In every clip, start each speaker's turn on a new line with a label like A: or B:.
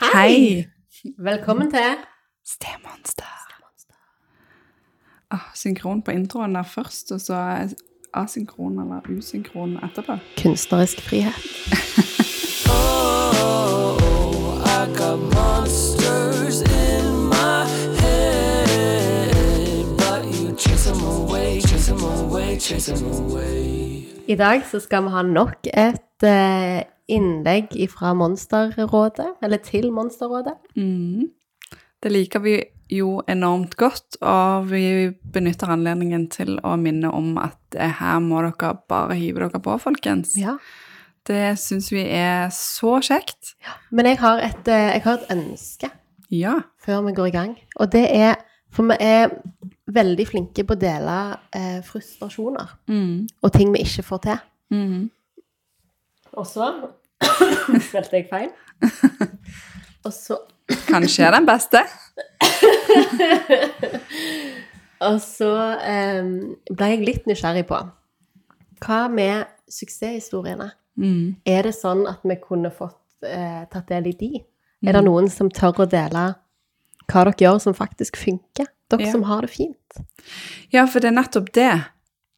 A: Hei!
B: Velkommen til
A: Stemonster. Ah, synkron på introen der først, og så asynkron eller usynkron etterpå.
B: Kunstnerisk frihet. I dag så skal vi ha nok et eh, innlegg fra Monsterrådet, eller til Monsterrådet.
A: Mm. Det liker vi jo enormt godt, og vi benytter anledningen til å minne om at eh, her må dere bare hive dere på, folkens.
B: Ja.
A: Det syns vi er så kjekt.
B: Men jeg har et, eh, jeg har et ønske
A: Ja.
B: før vi går i gang, og det er For vi er veldig flinke på å dele eh, frustrasjoner
A: Mm.
B: og ting vi ikke får til.
A: Mm.
B: Og så Spilte jeg feil? og så
A: Kanskje er den beste.
B: Og så em, ble jeg litt nysgjerrig på Hva med suksesshistoriene?
A: Mm.
B: Er det sånn at vi kunne fått eh, tatt del i de? Er det noen som tør å dele hva dere gjør som faktisk funker? Dere
A: Ja.
B: som har det fint.
A: Ja, for det er nettopp det.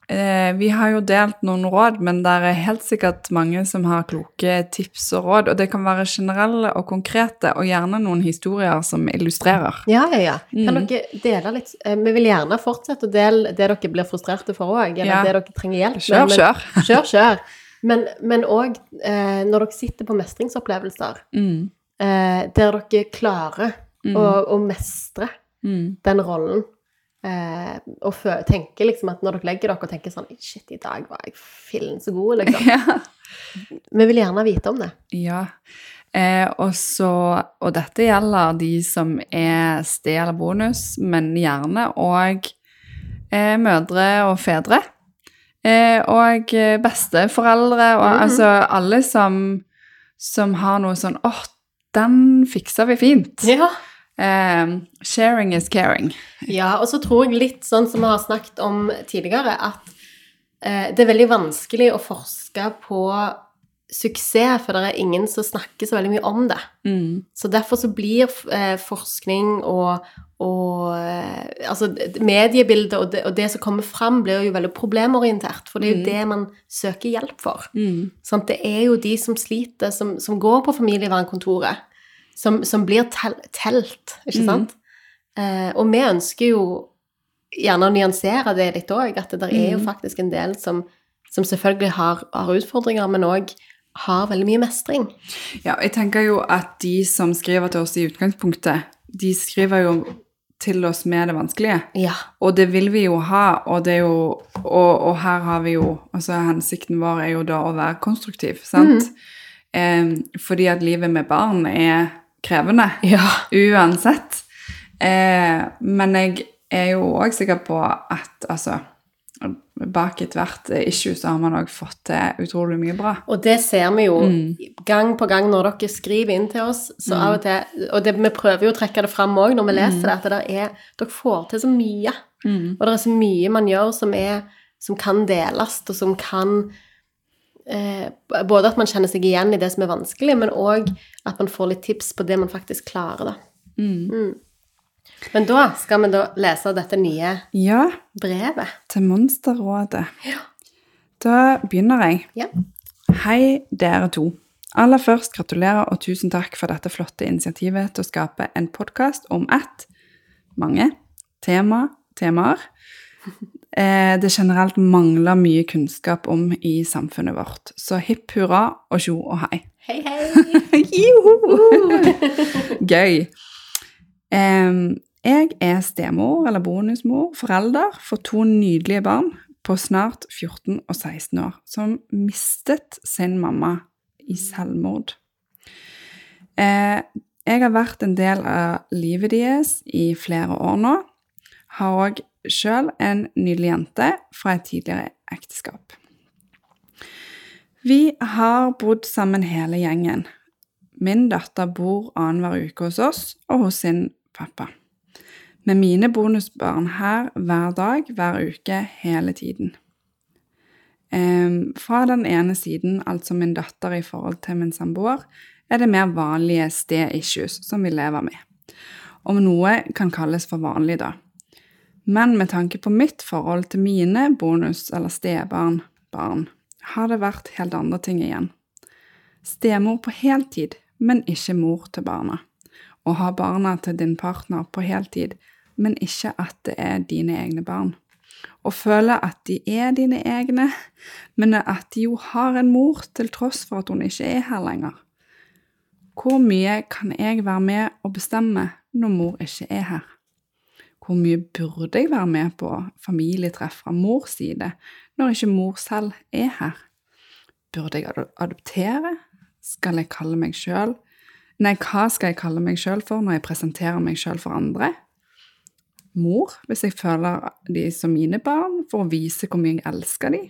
A: Eh, vi har jo delt noen råd, men det er helt sikkert mange som har kloke tips og råd. Og det kan være generelle og konkrete, og gjerne noen historier som illustrerer.
B: Ja, ja, ja. Kan
A: Mm.
B: dere dele litt eh, Vi vil gjerne fortsette å dele det dere blir frustrerte for òg, eller
A: Ja.
B: det dere trenger hjelp med.
A: Kjør,
B: men-
A: kjør.
B: Kjør, kjør. Men- Men òg eh, når dere sitter på mestringsopplevelser,
A: Mm,
B: eh, der dere klarer
A: mm,
B: å, å mestre
A: mm,
B: den rollen. Eh, og fø- tenker liksom at når dere legger dere og tenker sånn Shit, i dag var jeg fillen så god, liksom.
A: ja.
B: Vi vil gjerne vite om det.
A: Ja. Eh, og, så, og dette gjelder de som er sted eller bonus, men gjerne òg eh, mødre og fedre. Eh, og eh, besteforeldre og
B: Mhm.
A: altså alle som, som har noe sånn åh, den fikser vi fint.
B: Ja.
A: Eh, sharing is caring.
B: og så tror jeg litt sånn som vi har snakket om tidligere, at eh, det er veldig vanskelig å forske på suksess, for det er ingen som snakker så veldig mye om det.
A: Mm.
B: Så derfor så blir eh, forskning og, og eh, altså, d- mediebildet og det, og det som kommer fram, blir jo veldig problemorientert. For det er jo
A: Mm.
B: det man søker hjelp for.
A: Mm.
B: Sant? Det er jo de som sliter, som, som går på familievernkontoret, som, som blir tel telt, ikke
A: Mm.
B: sant? Eh, og vi ønsker jo gjerne å nyansere det litt òg, at det der er jo
A: Mm.
B: faktisk en del som, som selvfølgelig har, har utfordringer, men òg har veldig mye mestring.
A: Ja, jeg tenker jo at de som skriver til oss i utgangspunktet, de skriver jo til oss med det vanskelige.
B: Ja.
A: Og det vil vi jo ha, og, det er jo, og, og her har vi jo altså Hensikten vår er jo da å være konstruktiv, sant? Eh, fordi at livet med barn er krevende
B: ja.
A: uansett. Eh, men jeg er jo òg sikker på at altså Bak ethvert issue så har man òg fått til utrolig mye bra.
B: Og det ser vi jo
A: Mm.
B: gang på gang når dere skriver inn til oss. Så av og til, og det, vi prøver jo å trekke det fram òg når vi leser det, at det der er, dere får til så mye.
A: Mm.
B: Og det er så mye man gjør som, er, som kan deles, og som kan eh, Både at man kjenner seg igjen i det som er vanskelig, men òg at man får litt tips på det man faktisk klarer, da.
A: Mm.
B: Mm. Men da skal vi da lese dette nye
A: Ja,
B: brevet.
A: til Monsterrådet. Da begynner jeg.
B: Ja.
A: Hei, dere to. Aller først gratulerer og tusen takk for dette flotte initiativet til å skape en podkast om ett mange tema, temaer eh, det generelt mangler mye kunnskap om i samfunnet vårt. Så hipp hurra og tjo og hei.
B: Hei, hei!
A: Gøy. Em, jeg er stemor eller bonusmor, forelder for to nydelige barn på snart 14 og 16 år, som mistet sin mamma i selvmord. Eh, jeg har vært en del av livet deres i flere år nå. Har òg sjøl en nydelig jente fra et tidligere ekteskap. Vi har bodd sammen hele gjengen. Min datter bor annenhver uke hos oss og hos sin pappa. Med mine bonusbarn her hver dag, hver uke, hele tiden. Ehm, fra den ene siden, altså min datter i forhold til min samboer, er det mer vanlige sted-issues som vi lever med. Om noe kan kalles for vanlig, da. Men med tanke på mitt forhold til mine bonus- eller stebarn, barn, har det vært helt andre ting igjen. Stemor på heltid, men ikke mor til barna. Å ha barna til din partner på heltid, men ikke at det er dine egne barn. Å føle at de er dine egne, men at de jo har en mor til tross for at hun ikke er her lenger. Hvor mye kan jeg være med og bestemme når mor ikke er her? Hvor mye burde jeg være med på familietreff fra mors side når ikke mor selv er her? Burde jeg adoptere? Skal jeg kalle meg sjøl Nei, hva skal jeg kalle meg sjøl for når jeg presenterer meg sjøl for andre? Mor, hvis jeg føler de som mine barn, for å vise hvor mye jeg elsker de.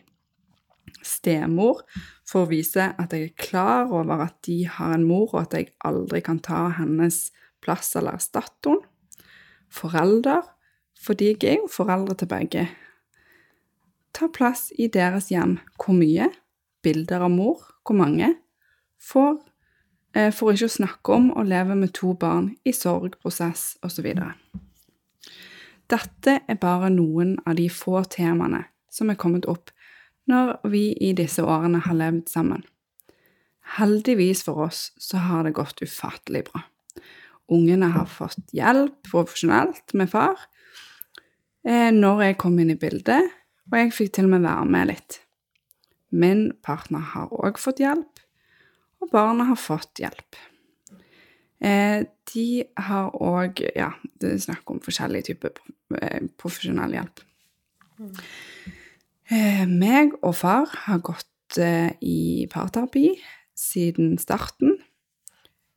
A: Stemor, for å vise at jeg er klar over at de har en mor, og at jeg aldri kan ta hennes plass eller erstatte henne. Forelder, fordi jeg er jo foreldre til begge. Ta plass i deres hjem. Hvor mye? Bilder av mor? Hvor mange? Får for ikke å snakke om å leve med to barn i sorg, prosess osv. Dette er bare noen av de få temaene som er kommet opp når vi i disse årene har levd sammen. Heldigvis for oss så har det gått ufattelig bra. Ungene har fått hjelp profesjonelt med far eh, når jeg kom inn i bildet, og jeg fikk til og med være med litt. Min partner har òg fått hjelp, og barna har fått hjelp. Eh, de har òg Ja, det er snakk om forskjellige typer eh, profesjonell hjelp. Eh, meg og far har gått eh, i parterapi siden starten.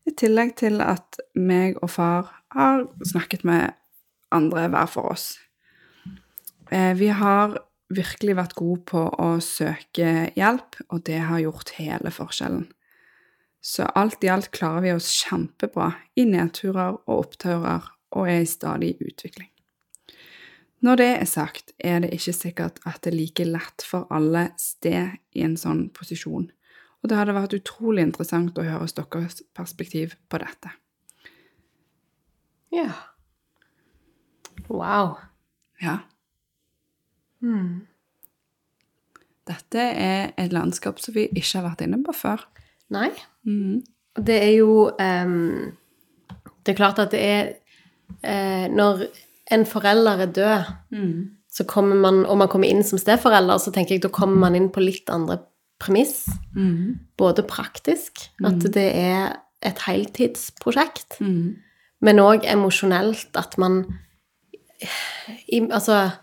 A: I tillegg til at meg og far har snakket med andre hver for oss. Eh, vi har virkelig vært gode på å søke hjelp, og det har gjort hele forskjellen. Så alt i alt klarer vi oss kjempebra i nedturer og oppturer og er i stadig utvikling. Når det er sagt, er det ikke sikkert at det er like lett for alle sted i en sånn posisjon, og det hadde vært utrolig interessant å høre deres perspektiv på dette.
B: Ja. Wow.
A: Ja. Hmm.
B: Mm.
A: Dette er et landskap som vi ikke har vært inne på før.
B: Nei.
A: Mm.
B: Og Det er jo ehm, Det er klart at det er eh, Når en forelder er død,
A: Hmm.
B: så kommer man, og man kommer inn som steforelder, så tenker jeg da kommer man inn på litt andre premiss.
A: Mm.
B: Både praktisk, at det er et heltidsprosjekt,
A: Mm.
B: men òg emosjonelt, at man i, Altså,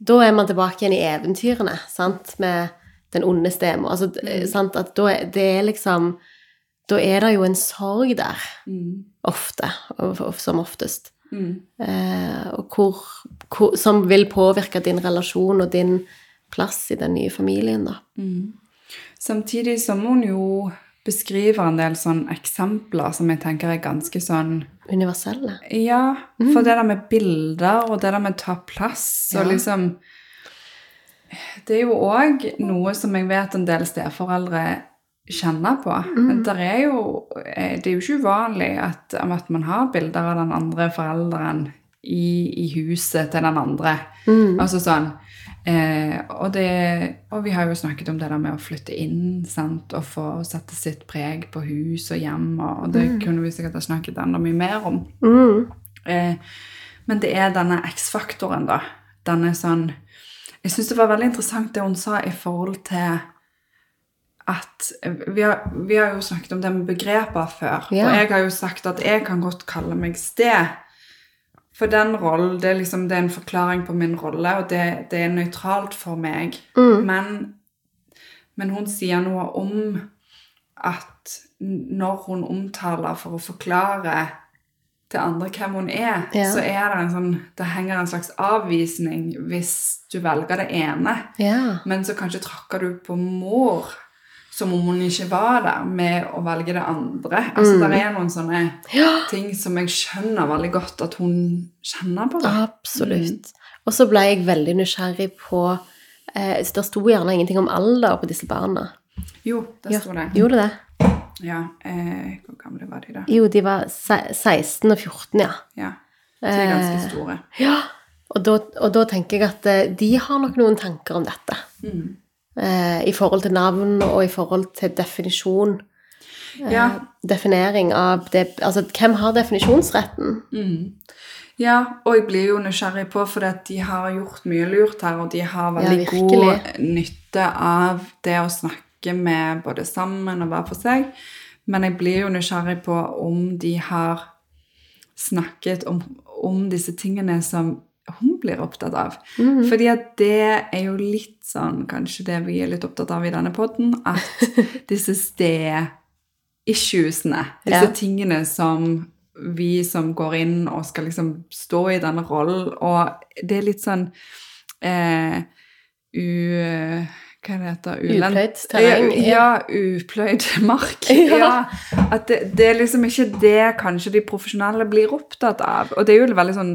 B: da er man tilbake igjen i eventyrene, sant, med den onde stemor. Altså,
A: Mm.
B: d- sant, at da er det er liksom Da er det jo en sorg der,
A: Mm.
B: ofte, og, og, som oftest.
A: Mm.
B: Eh, og hvor, hvor, som vil påvirke din relasjon og din plass i den nye familien, da.
A: Mm. Samtidig som hun jo beskriver en del sånne eksempler som jeg tenker er ganske sånn
B: Universelle.
A: Ja, for det der med bilder og det der med å ta plass og
B: Ja.
A: liksom Det er jo òg noe som jeg vet en del steforeldre kjenner på. Der er jo, eh, det er jo ikke uvanlig at, at man har bilder av den andre forelderen i, i huset til den andre. Altså sånn. Eh, og, det, og vi har jo snakket om det der med å flytte inn sant? og få sette sitt preg på hus og hjem, og det kunne vi sikkert ha snakket enda mye mer om.
B: Mm.
A: Eh, men det er denne X-faktoren, da. Denne sånn Jeg syns det var veldig interessant det hun sa i forhold til at eh, vi har, vi har jo snakket om det med begreper før.
B: Ja.
A: Og jeg har jo sagt at jeg kan godt kalle meg sted. For den rollen, det er liksom det er en forklaring på min rolle, og det, det er nøytralt for meg. Men, men hun sier noe om at n- når hun omtaler for å forklare til andre hvem hun er,
B: Ja.
A: så er det en sånn Det henger en slags avvisning hvis du velger det ene.
B: Ja.
A: Men så kanskje trakker du på mor som om hun ikke var der, med å velge det andre. Altså, Det er noen sånne
B: Mm. Ja.
A: ting som jeg skjønner veldig godt at hun kjenner på. Da.
B: Absolutt. Og så ble jeg veldig nysgjerrig på eh, så Det sto gjerne ingenting om alder på disse barna.
A: Jo, der sto det.
B: Gjorde det det?
A: Ja, eh, Hvor gamle var de da?
B: Jo, de var se- 16 og 14, ja.
A: Ja, Så
B: Eh,
A: de er ganske store.
B: Ja, og da, og da tenker jeg at eh, de har nok noen tanker om dette.
A: Mm.
B: Eh, I forhold til navn og i forhold til definisjon.
A: Ja,
B: eh, Definering av det Altså, hvem har definisjonsretten?
A: ja, og jeg blir jo nysgjerrig på, for at de har gjort mye lurt her, og de har veldig
B: Ja,
A: god
B: virkelig.
A: nytte av det å snakke med både sammen og hver for seg. Men jeg blir jo nysgjerrig på om de har snakket om, om disse tingene som hun blir opptatt av. Fordi at det er jo litt sånn kanskje det vi er litt opptatt av i denne podden, at disse sted-issuesene, disse
B: Ja.
A: tingene som vi som går inn og skal liksom stå i denne rollen, og det er litt sånn eh, u... Hva er det heter? Ulen-
B: Upløyd terreng,
A: Ja, ja, upløyd mark. Ja. at det, det er liksom ikke det kanskje de profesjonelle blir opptatt av. Og det er jo veldig sånn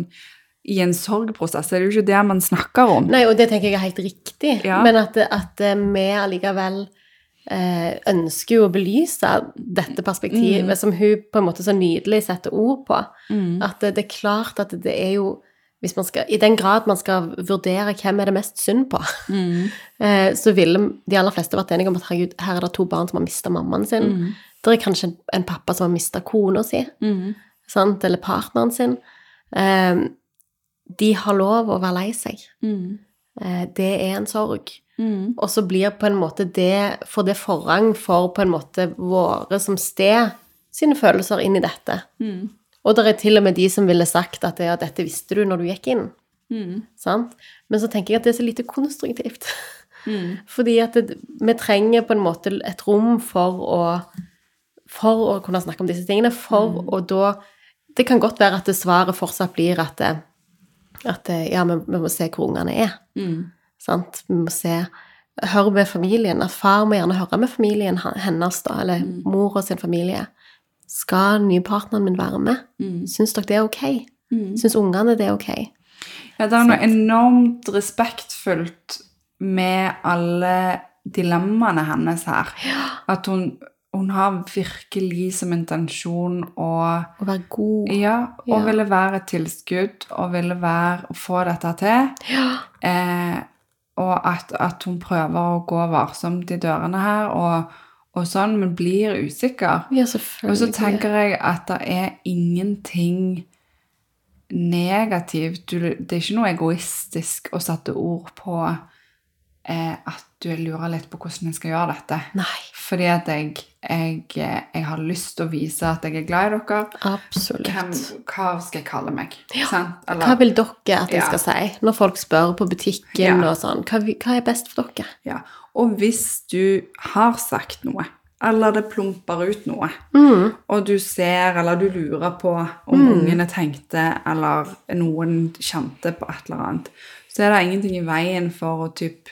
A: I en sorgprosess er det jo ikke det man snakker om.
B: Nei, og det tenker jeg er helt riktig,
A: Ja.
B: men at, at eh, vi allikevel eh, ønsker jo å belyse dette perspektivet som hun på en måte så nydelig setter ord på. At det, det er klart at det er jo hvis man skal, I den grad man skal vurdere hvem er det mest synd på, eh, så ville de aller fleste vært enige om at herregud, her er det to barn som har mista mammaen sin. Det er kanskje en, en pappa som har mista kona si, sant? eller partneren sin. Eh, de har lov å være lei seg. Eh, det er en sorg. Og så blir på en måte det Får det forrang for på en måte våre som sted sine følelser inn i dette. Og det er til og med de som ville sagt at ja, dette visste du når du gikk inn. Sant? Men så tenker jeg at det er så lite konstruktivt. Fordi at det, vi trenger på en måte et rom for å for å kunne snakke om disse tingene, for å da Det kan godt være at det svaret fortsatt blir at, det- at det- ja, vi, vi må se hvor ungene er. Sant? Vi må se Hør med familien. At far må gjerne høre med familien h- hennes, da, eller
A: Mm.
B: mor og sin familie. Skal den nye partneren min være med? Syns dere det er ok? Syns ungene det er ok?
A: Ja, det er noe enormt respektfullt med alle dilemmaene hennes her. At hun, hun har virkelig som intensjon å
B: Å være god
A: Ja, og
B: Ja.
A: ville være et tilskudd, og ville være å få dette til. Eh, og at, at hun prøver å gå varsomt i dørene her, og, og sånn, men blir usikker.
B: Ja,
A: Og så
B: selvfølgelig.
A: tenker jeg at det er ingenting negativt. Du, det er ikke noe egoistisk å sette ord på eh, at du lurer litt på hvordan jeg skal gjøre dette.
B: Nei,
A: Fordi at jeg, jeg, eh, jeg har lyst til å vise at jeg er glad i dere.
B: absolutt.
A: Hvem, hva skal jeg kalle meg? Sant?
B: Hva
A: Eller,
B: vil dere at jeg
A: Ja.
B: skal si når folk spør på butikken
A: Ja.
B: og sånn? Hva, vi- hva er best for dere?
A: ja. Og hvis du har sagt noe, eller det plumper ut noe,
B: Mm.
A: og du ser eller du lurer på om ungene tenkte eller noen kjente på et eller annet, så er det ingenting i veien for å typ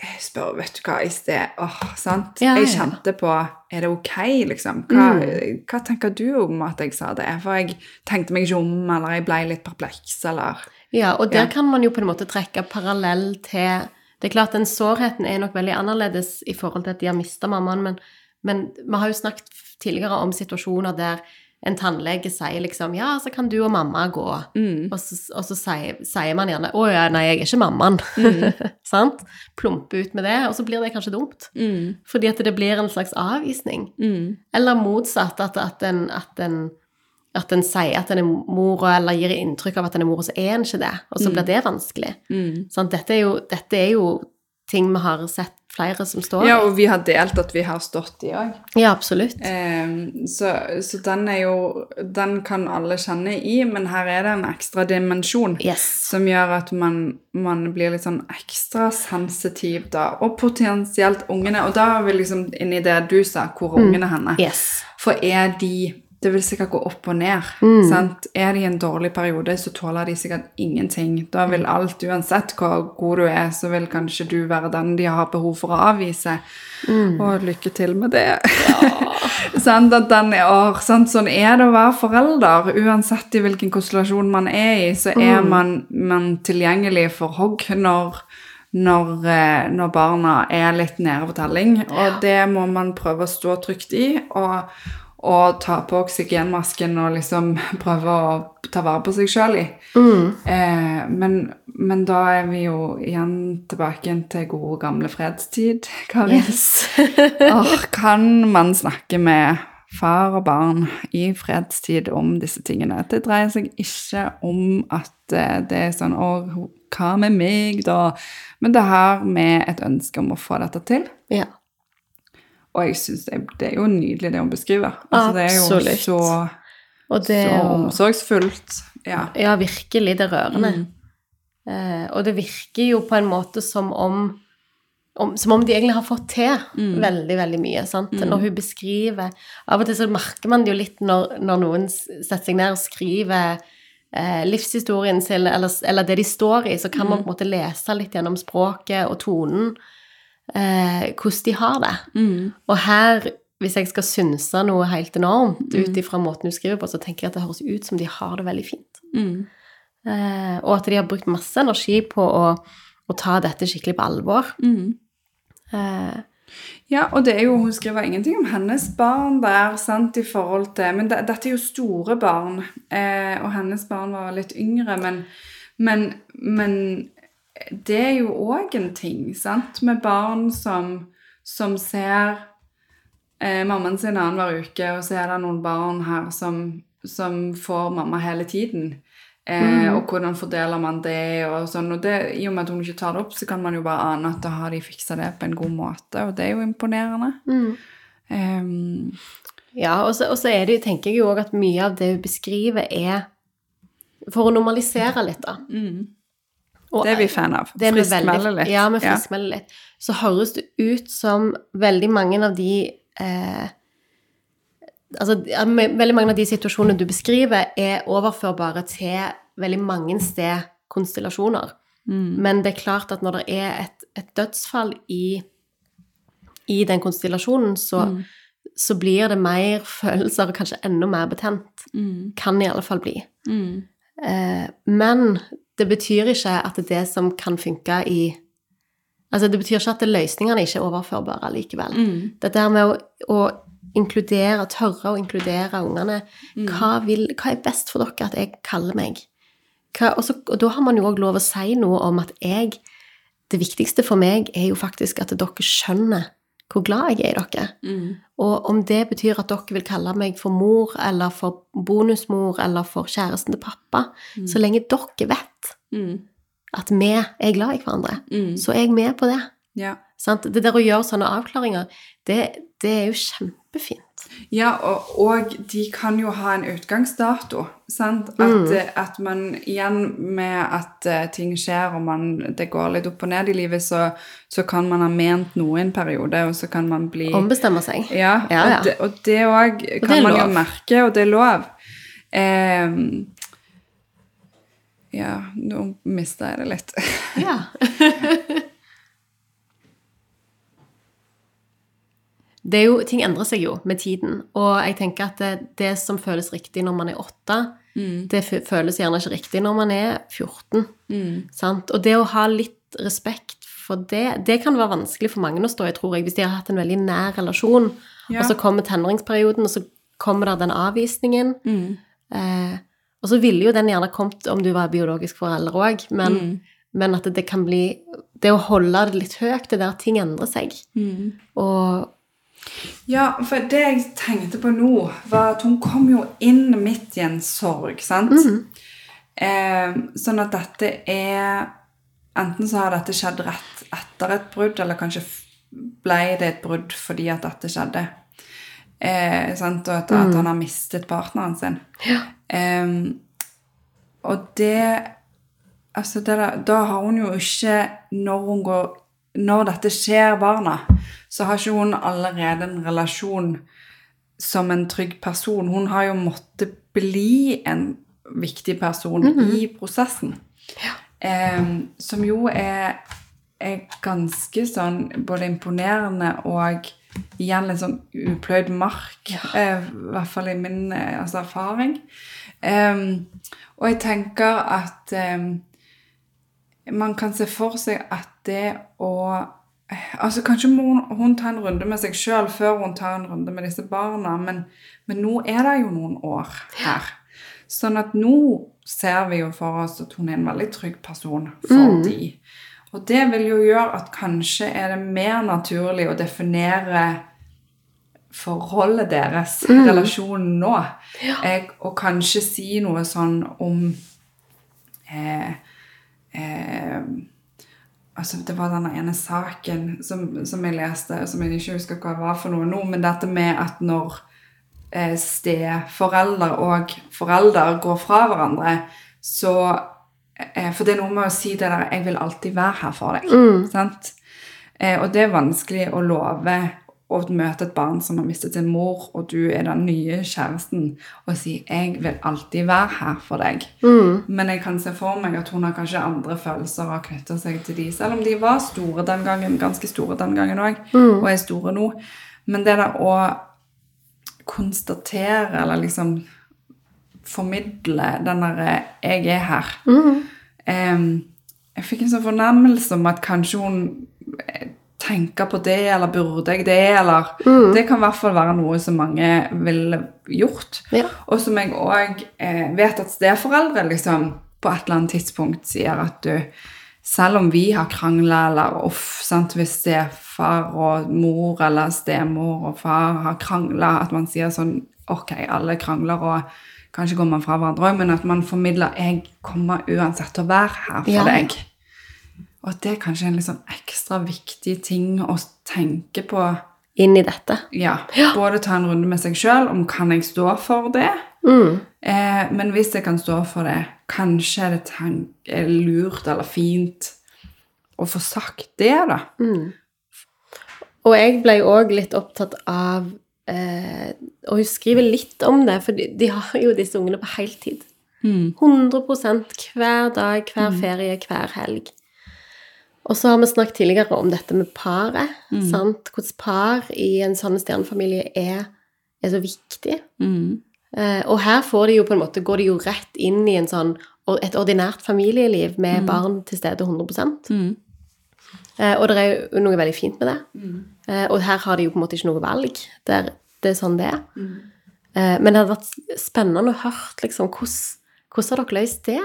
A: eh, spørre, vet du hva, i sted, åh, sant?
B: Ja, ja.
A: Jeg
B: Mm.
A: kjente på, er det ok, liksom? Hva, hva tenker du om at jeg sa det? For jeg tenkte meg ikke om, eller jeg ble litt perpleks, eller...
B: Ja, og der
A: Ja.
B: kan man jo på en måte trekke parallell til Det er klart den sårheten er nok veldig annerledes i forhold til at de har mista mammaen, men, men vi har jo snakket tidligere om situasjoner der en tannlege sier liksom Ja, så kan du og mamma gå. Og så, og så sier, sier man gjerne Å ja, nei, jeg er ikke mammaen. Sant? Plumpe ut med det, og så blir det kanskje dumt. Fordi at det blir en slags avvisning. Eller motsatt, at, at, en, at, en, at en sier at en er mor, eller gir inntrykk av at en er mor, og så er en ikke det. Og
A: Mm.
B: så blir det vanskelig. Sant? dette, er jo, dette er jo ting vi har sett flere som står i.
A: Ja, og vi har delt at vi har stått i òg.
B: Ja, absolutt.
A: Ehm, så, så den er jo Den kan alle kjenne i, men her er det en ekstra dimensjon
B: Yes.
A: som gjør at man, man blir litt sånn ekstra sensitiv, da. Og potensielt ungene. Og da er vi liksom inne i det du sa, hvor er ungene henne?
B: Yes.
A: For er de Det vil sikkert gå opp og ned. Sant? Er de i en dårlig periode, så tåler de sikkert ingenting. Da vil alt, uansett hvor god du er, så vil kanskje du være den de har behov for å avvise. Og lykke til med det. sant? At den er, åh, sant? Sånn er det å være forelder. Uansett i hvilken konstellasjon man er i, så er man, man tilgjengelig for hogg når når, eh, når barna er litt nede på telling. Og det må man prøve å stå trygt i. og og ta på oksygenmasken og liksom prøve å ta vare på seg sjøl i. Eh, men, men da er vi jo igjen tilbake igjen til gode, gamle fredstid. Karin. Åh, kan man snakke med far og barn i fredstid om disse tingene? Det dreier seg ikke om at eh, det er sånn Å, ho- hva med meg, da? Men det har med et ønske om å få dette til.
B: ja.
A: Og jeg syns det, det er jo nydelig, det hun beskriver. Altså, det er jo
B: Absolutt.
A: så,
B: Og det
A: så
B: er jo
A: omsorgsfullt. Ja.
B: Ja, virkelig. Det er rørende. Eh, og det virker jo på en måte som om, om Som om de egentlig har fått til veldig, veldig mye. sant? Når hun beskriver Av og til så merker man det jo litt når, når noen s- setter seg ned og skriver eh, livshistorien sin, eller, s- eller det de står i, så kan man på en måte lese litt gjennom språket og tonen eh, hvordan de har det. Og her, hvis jeg skal synse noe helt enormt ut ifra måten hun skriver på, så tenker jeg at det høres ut som de har det veldig fint.
A: Mm.
B: Eh, og at de har brukt masse energi på å, å ta dette skikkelig på alvor.
A: Mm.
B: Eh,
A: Ja, og det er jo, hun skriver ingenting om hennes barn der, sant, i forhold til Men det, dette er jo store barn, eh, og hennes barn var litt yngre, men, men, men det er jo òg en ting, sant, med barn som, som ser eh, mammaen sin annenhver uke, og så er det noen barn her som, som får mamma hele tiden. Eh,
B: Mhm.
A: Og hvordan fordeler man det? og sånn, og det, I og med at hun ikke tar det opp, så kan man jo bare ane at da har de fiksa det på en god måte, og det er jo imponerende. Ehm,
B: ja, og så, og så er det, jo- tenker jeg jo òg at mye av det hun beskriver, er for å normalisere litt, da. Og-
A: Mm.
B: eh,
A: det er vi fan av.
B: Det er vi
A: Friskmelde
B: veldig-
A: litt.
B: Ja, vi friskmelder litt. Så høres det ut som veldig mange av de eh, Altså, ja, me- veldig mange av de situasjonene du beskriver, er overførbare til veldig mange sted konstellasjoner. Men det er klart at når det er et, et dødsfall i, i den konstellasjonen, så, så blir det mer følelser, og kanskje enda mer betent. Kan i alle fall bli. Eh, men det betyr ikke at det, er det som kan funke i Altså, det betyr ikke at løsningene ikke er overførbare likevel.
A: Mm.
B: Det der med å, å inkludere, tørre å inkludere ungene hva, vil, hva er best for dere at jeg kaller meg? Hva, og, så, og da har man jo òg lov å si noe om at jeg Det viktigste for meg er jo faktisk at dere skjønner hvor glad jeg er i dere. Og om det betyr at dere vil kalle meg for mor, eller for bonusmor, eller for kjæresten til pappa, så lenge dere vet at vi er glad i hverandre,
A: Mm.
B: så er jeg med på det.
A: Ja.
B: Sant? Det der å gjøre sånne avklaringer, det, det er jo kjempefint.
A: Ja, og, og de kan jo ha en utgangsdato. Sant? At,
B: Mm.
A: eh, at man igjen med at eh, ting skjer og man, det går litt opp og ned i livet, så, så kan man ha ment noe i en periode, og så kan man bli
B: Ombestemme seg.
A: Ja,
B: Ja, ja.
A: og det- og det òg kan
B: er
A: man jo
B: lov.
A: merke, og det er lov. Ehm, ja, nå mista jeg det litt.
B: Ja. det er jo, ting endrer seg jo med tiden, og jeg tenker at det, det som føles riktig når man er åtte, det fø- føles gjerne ikke riktig når man er 14. Sant? Og det å ha litt respekt for det, det kan være vanskelig for mange å stå i, tror jeg, hvis de har hatt en veldig nær relasjon,
A: Ja.
B: og så kommer tenåringsperioden, og så kommer der den avvisningen. Eh, og så ville jo den gjerne kommet om du var biologisk forelder òg, men, men at det kan bli Det å holde det litt høyt, det der ting endrer seg. Og
A: Ja, for det jeg tenkte på nå, var at hun kom jo inn midt i en sorg, sant? eh, sånn at dette er Enten så har dette skjedd rett etter et brudd, eller kanskje f- ble det et brudd fordi at dette skjedde. Eh, sant? Og at, at han har mistet partneren sin. Eh, og det altså det der, da har hun jo ikke når, hun går, når dette skjer barna, så har ikke hun allerede en relasjon som en trygg person. Hun har jo måttet bli en viktig person i prosessen. Em, som jo er, er ganske sånn både imponerende og igjen litt sånn upløyd mark. eh, I hvert fall i min eh, altså, erfaring. Em, og jeg tenker at em, man kan se for seg at det å Altså, Kanskje må hun, hun ta en runde med seg sjøl før hun tar en runde med disse barna, men, men nå er det jo noen år her. Sånn at nå ser vi jo for oss at hun er en veldig trygg person for de. Og det vil jo gjøre at kanskje er det mer naturlig å definere forholdet deres, relasjonen nå, eh, og kanskje si noe sånn om eh, eh, Altså, det var den ene saken som, som jeg leste, som jeg ikke husker hva var for noe nå, men dette med at når eh, steforelder og forelder går fra hverandre, så eh, For det er noe med å si det der 'Jeg vil alltid være her for deg'. Sant? Eh, og det er vanskelig å love å møte et barn som har mistet sin mor, og du er den nye kjæresten, og si 'Jeg vil alltid være her for deg'. Men jeg kan se for meg at hun har kanskje andre følelser og har knytta seg til de, selv om de var store den gangen, ganske store den gangen òg, og er store nå. Men det der å konstatere, eller liksom formidle den derre 'jeg er her'. Em, jeg fikk en sånn fornemmelse om at kanskje hun eh, tenker på det, eller burde jeg det, eller Det kan i hvert fall være noe som mange ville gjort.
B: Ja.
A: Og som jeg òg eh, vet at steforeldre liksom, på et eller annet tidspunkt sier at du selv om vi har krangla, eller uff, sant, hvis stefar og mor eller stemor og far har krangla, at man sier sånn Ok, alle krangler, og kanskje går man fra hverandre òg, men at man formidler 'Jeg kommer uansett til å være her for
B: Ja.
A: deg'. Og at det er kanskje en litt sånn ekstra viktig ting å tenke på.
B: Inn i dette.
A: Ja, Både ta en runde med seg sjøl om kan jeg stå for det,
B: Mm.
A: eh, men hvis jeg kan stå for det, kanskje er det tan- er lurt eller fint å få sagt det, da.
B: Og jeg ble jo òg litt opptatt av eh, Og hun skriver litt om det, for de, de har jo disse ungene på heltid. 100 hver dag, hver ferie, hver helg. Og så har vi snakket tidligere om dette med paret. sant? Hvordan par i en sånn stjernefamilie er, er så viktig. Eh, og her får de jo på en måte, går de jo rett inn i en sånn, et ordinært familieliv med barn til stede 100 Eh, og det er jo noe veldig fint med det.
A: Mm.
B: Eh, og her har de jo på en måte ikke noe valg. Det er, det er sånn det er.
A: Mm.
B: Eh, men det hadde vært spennende å høre liksom, hvordan, hvordan har dere løst det?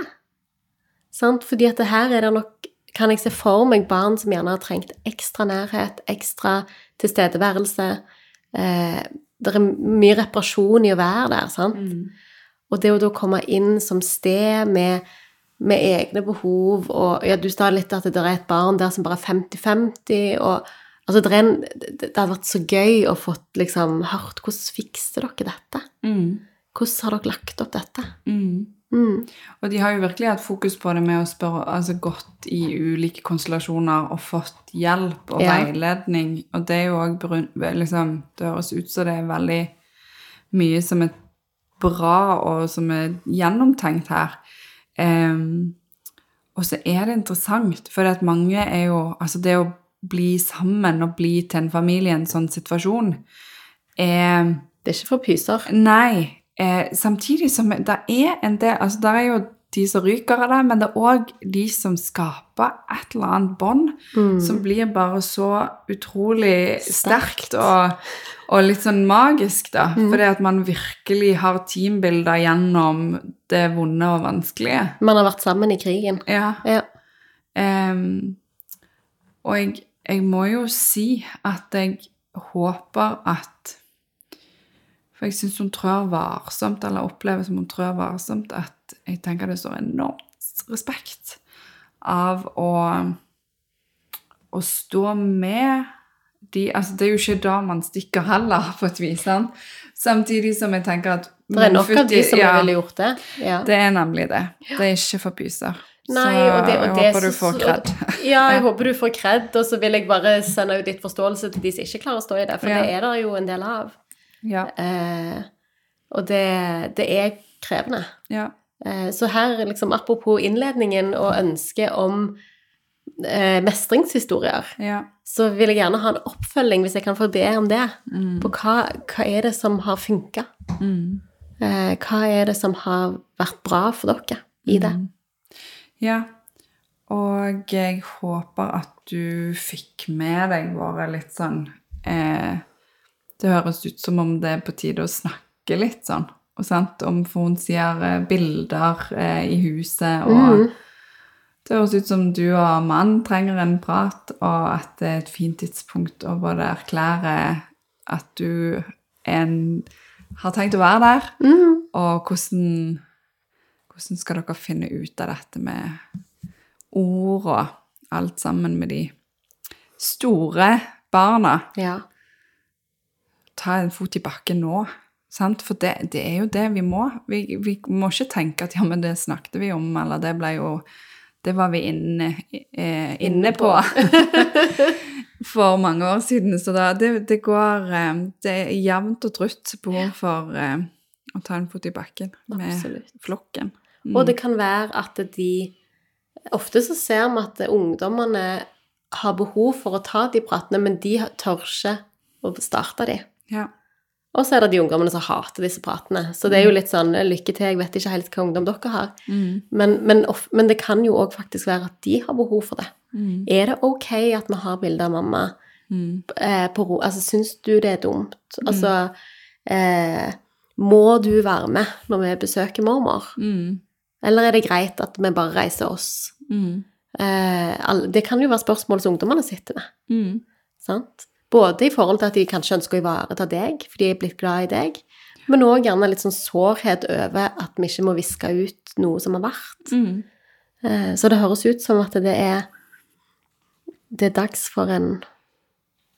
B: Sant? Fordi at det her er det nok kan jeg se for meg barn som gjerne har trengt ekstra nærhet, ekstra tilstedeværelse. Eh, det er mye reparasjon i å være der, sant? Og det å da komme inn som sted med, med egne behov og ja, Du sa litt at det er et barn der som bare er 50-50, og altså, det, er en, det det hadde vært så gøy å få liksom, hørt Hvordan fikser dere dette?
A: Mm.
B: Hvordan har dere lagt opp dette? Mm.
A: Og de har jo virkelig hatt fokus på det med å spørre, altså gått i ulike konstellasjoner og fått hjelp og
B: Ja.
A: veiledning, og det er jo òg liksom, Det høres ut som det er veldig mye som er bra, og som er gjennomtenkt her. Ehm, og så er det interessant, for at mange er jo Altså, det å bli sammen og bli til en familie i en sånn situasjon er
B: Det er ikke for pyser.
A: Nei. Eh, samtidig som det er en del altså Det er jo de som ryker av det, men det er òg de som skaper et eller annet bånd
B: Mm.
A: som blir bare så utrolig
B: Sterkt.
A: sterkt og, og litt sånn magisk, da. Fordi at man virkelig har teambilder gjennom det vonde og vanskelige.
B: Man har vært sammen i krigen.
A: Ja.
B: Ja.
A: Ehm, og jeg, jeg må jo si at jeg håper at For jeg syns hun trør varsomt, eller opplever som hun trør varsomt, at jeg tenker det står enormt respekt av å, å stå med de Altså, det er jo ikke da man stikker heller, på et vis. sant? Samtidig som jeg tenker at
B: Det er nok av de som
A: ja,
B: ville gjort det. Ja.
A: det er nemlig det. Det er ikke for pyser.
B: Nei,
A: så
B: og det, og det
A: jeg håper du
B: synes-
A: får kred.
B: Ja, jeg håper du får kred, og så vil jeg bare sende ut litt forståelse til de som ikke klarer å stå i det, for
A: Ja.
B: det er det jo en del av.
A: Ja,
B: Eh, og det, det er krevende.
A: ja.
B: Eh, så her, liksom, apropos innledningen og ønsket om eh, mestringshistorier,
A: ja.
B: så vil jeg gjerne ha en oppfølging, hvis jeg kan få be om det, på hva, hva er det som har funka? Eh,
A: Mm.
B: hva er det som har vært bra for dere i det?
A: ja. Og jeg håper at du fikk med deg våre litt sånn eh, Det høres ut som om det er på tide å snakke litt sånn. Og sant? Om for hun sier eh, bilder eh, i huset og
B: Mhm.
A: Det høres ut som du og mannen trenger en prat, og at det er et fint tidspunkt å både erklære at du er en, har tenkt å være der,
B: Mhm.
A: og hvordan, hvordan skal dere finne ut av dette med ord og alt sammen med de store barna?
B: Ja.
A: Ta en fot i bakken nå. Sant? For det, det er jo det vi må. Vi, vi må ikke tenke at ja, men det snakket vi om, eller det ble jo Det var vi inne, eh, inne på for mange år siden. Så da, det, det går eh, Det er jevnt og trutt behov for eh, å ta en fot i bakken med
B: Absolutt.
A: flokken.
B: Og det kan være at de Ofte så ser vi at ungdommene har behov for å ta de pratene, men de tør ikke å starte de.
A: Ja.
B: Og så er det de ungdommene som hater disse pratene. Så det er jo litt sånn lykke til, jeg vet ikke helt hva ungdom dere har.
A: Mm,
B: Men, men, of, men det kan jo òg faktisk være at de har behov for det.
A: Mm.
B: Er det ok at vi har bilde av mamma
A: Mm.
B: eh, på ro? Altså, syns du det er dumt? Altså, eh, må du være med når vi besøker mormor?
A: Mm.
B: Eller er det greit at vi bare reiser oss?
A: Mm.
B: Eh, alle- det kan jo være spørsmål som ungdommene sitter med.
A: Mm.
B: Sant? Både i forhold til at de kanskje ønsker å ivareta deg, for de er blitt glad i deg, men òg gjerne litt sånn sårhet over at vi ikke må viske ut noe som har vært.
A: Mm.
B: Eh, Så det høres ut som at det er det er dags for en,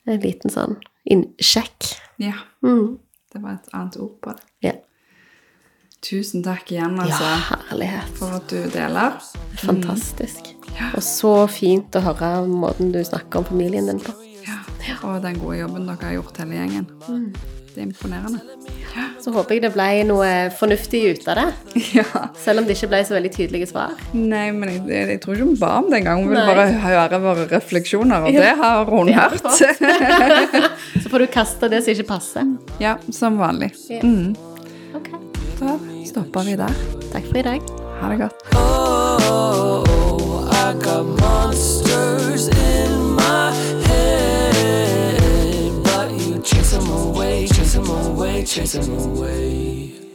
B: en liten sånn inn- sjekk.
A: Ja.
B: Mm.
A: Det var et annet ord på det.
B: Ja.
A: Tusen takk igjen,
B: ja,
A: altså.
B: herlighet.
A: for at du deler.
B: Fantastisk. Og så fint å høre måten du snakker om familien din på.
A: Og den gode jobben dere har gjort hele gjengen.
B: Mm.
A: Det er imponerende.
B: Så håper jeg det ble noe fornuftig ut av det.
A: Ja.
B: Selv om det ikke ble så veldig tydelige svar.
A: Nei, men jeg, jeg tror ikke hun ba om det engang. Hun ville
B: Nei.
A: bare høre våre refleksjoner, og
B: Ja.
A: det har hun
B: har hun
A: hørt.
B: Så får du kaste det som ikke passer.
A: ja, som vanlig.
B: Ja.
A: Mm.
B: Ok.
A: Da stopper vi der.
B: Takk for i dag.
A: Ha det godt.
C: Oh, I got monsters in my head, but you chase 'em away, chase 'em away, chase 'em away.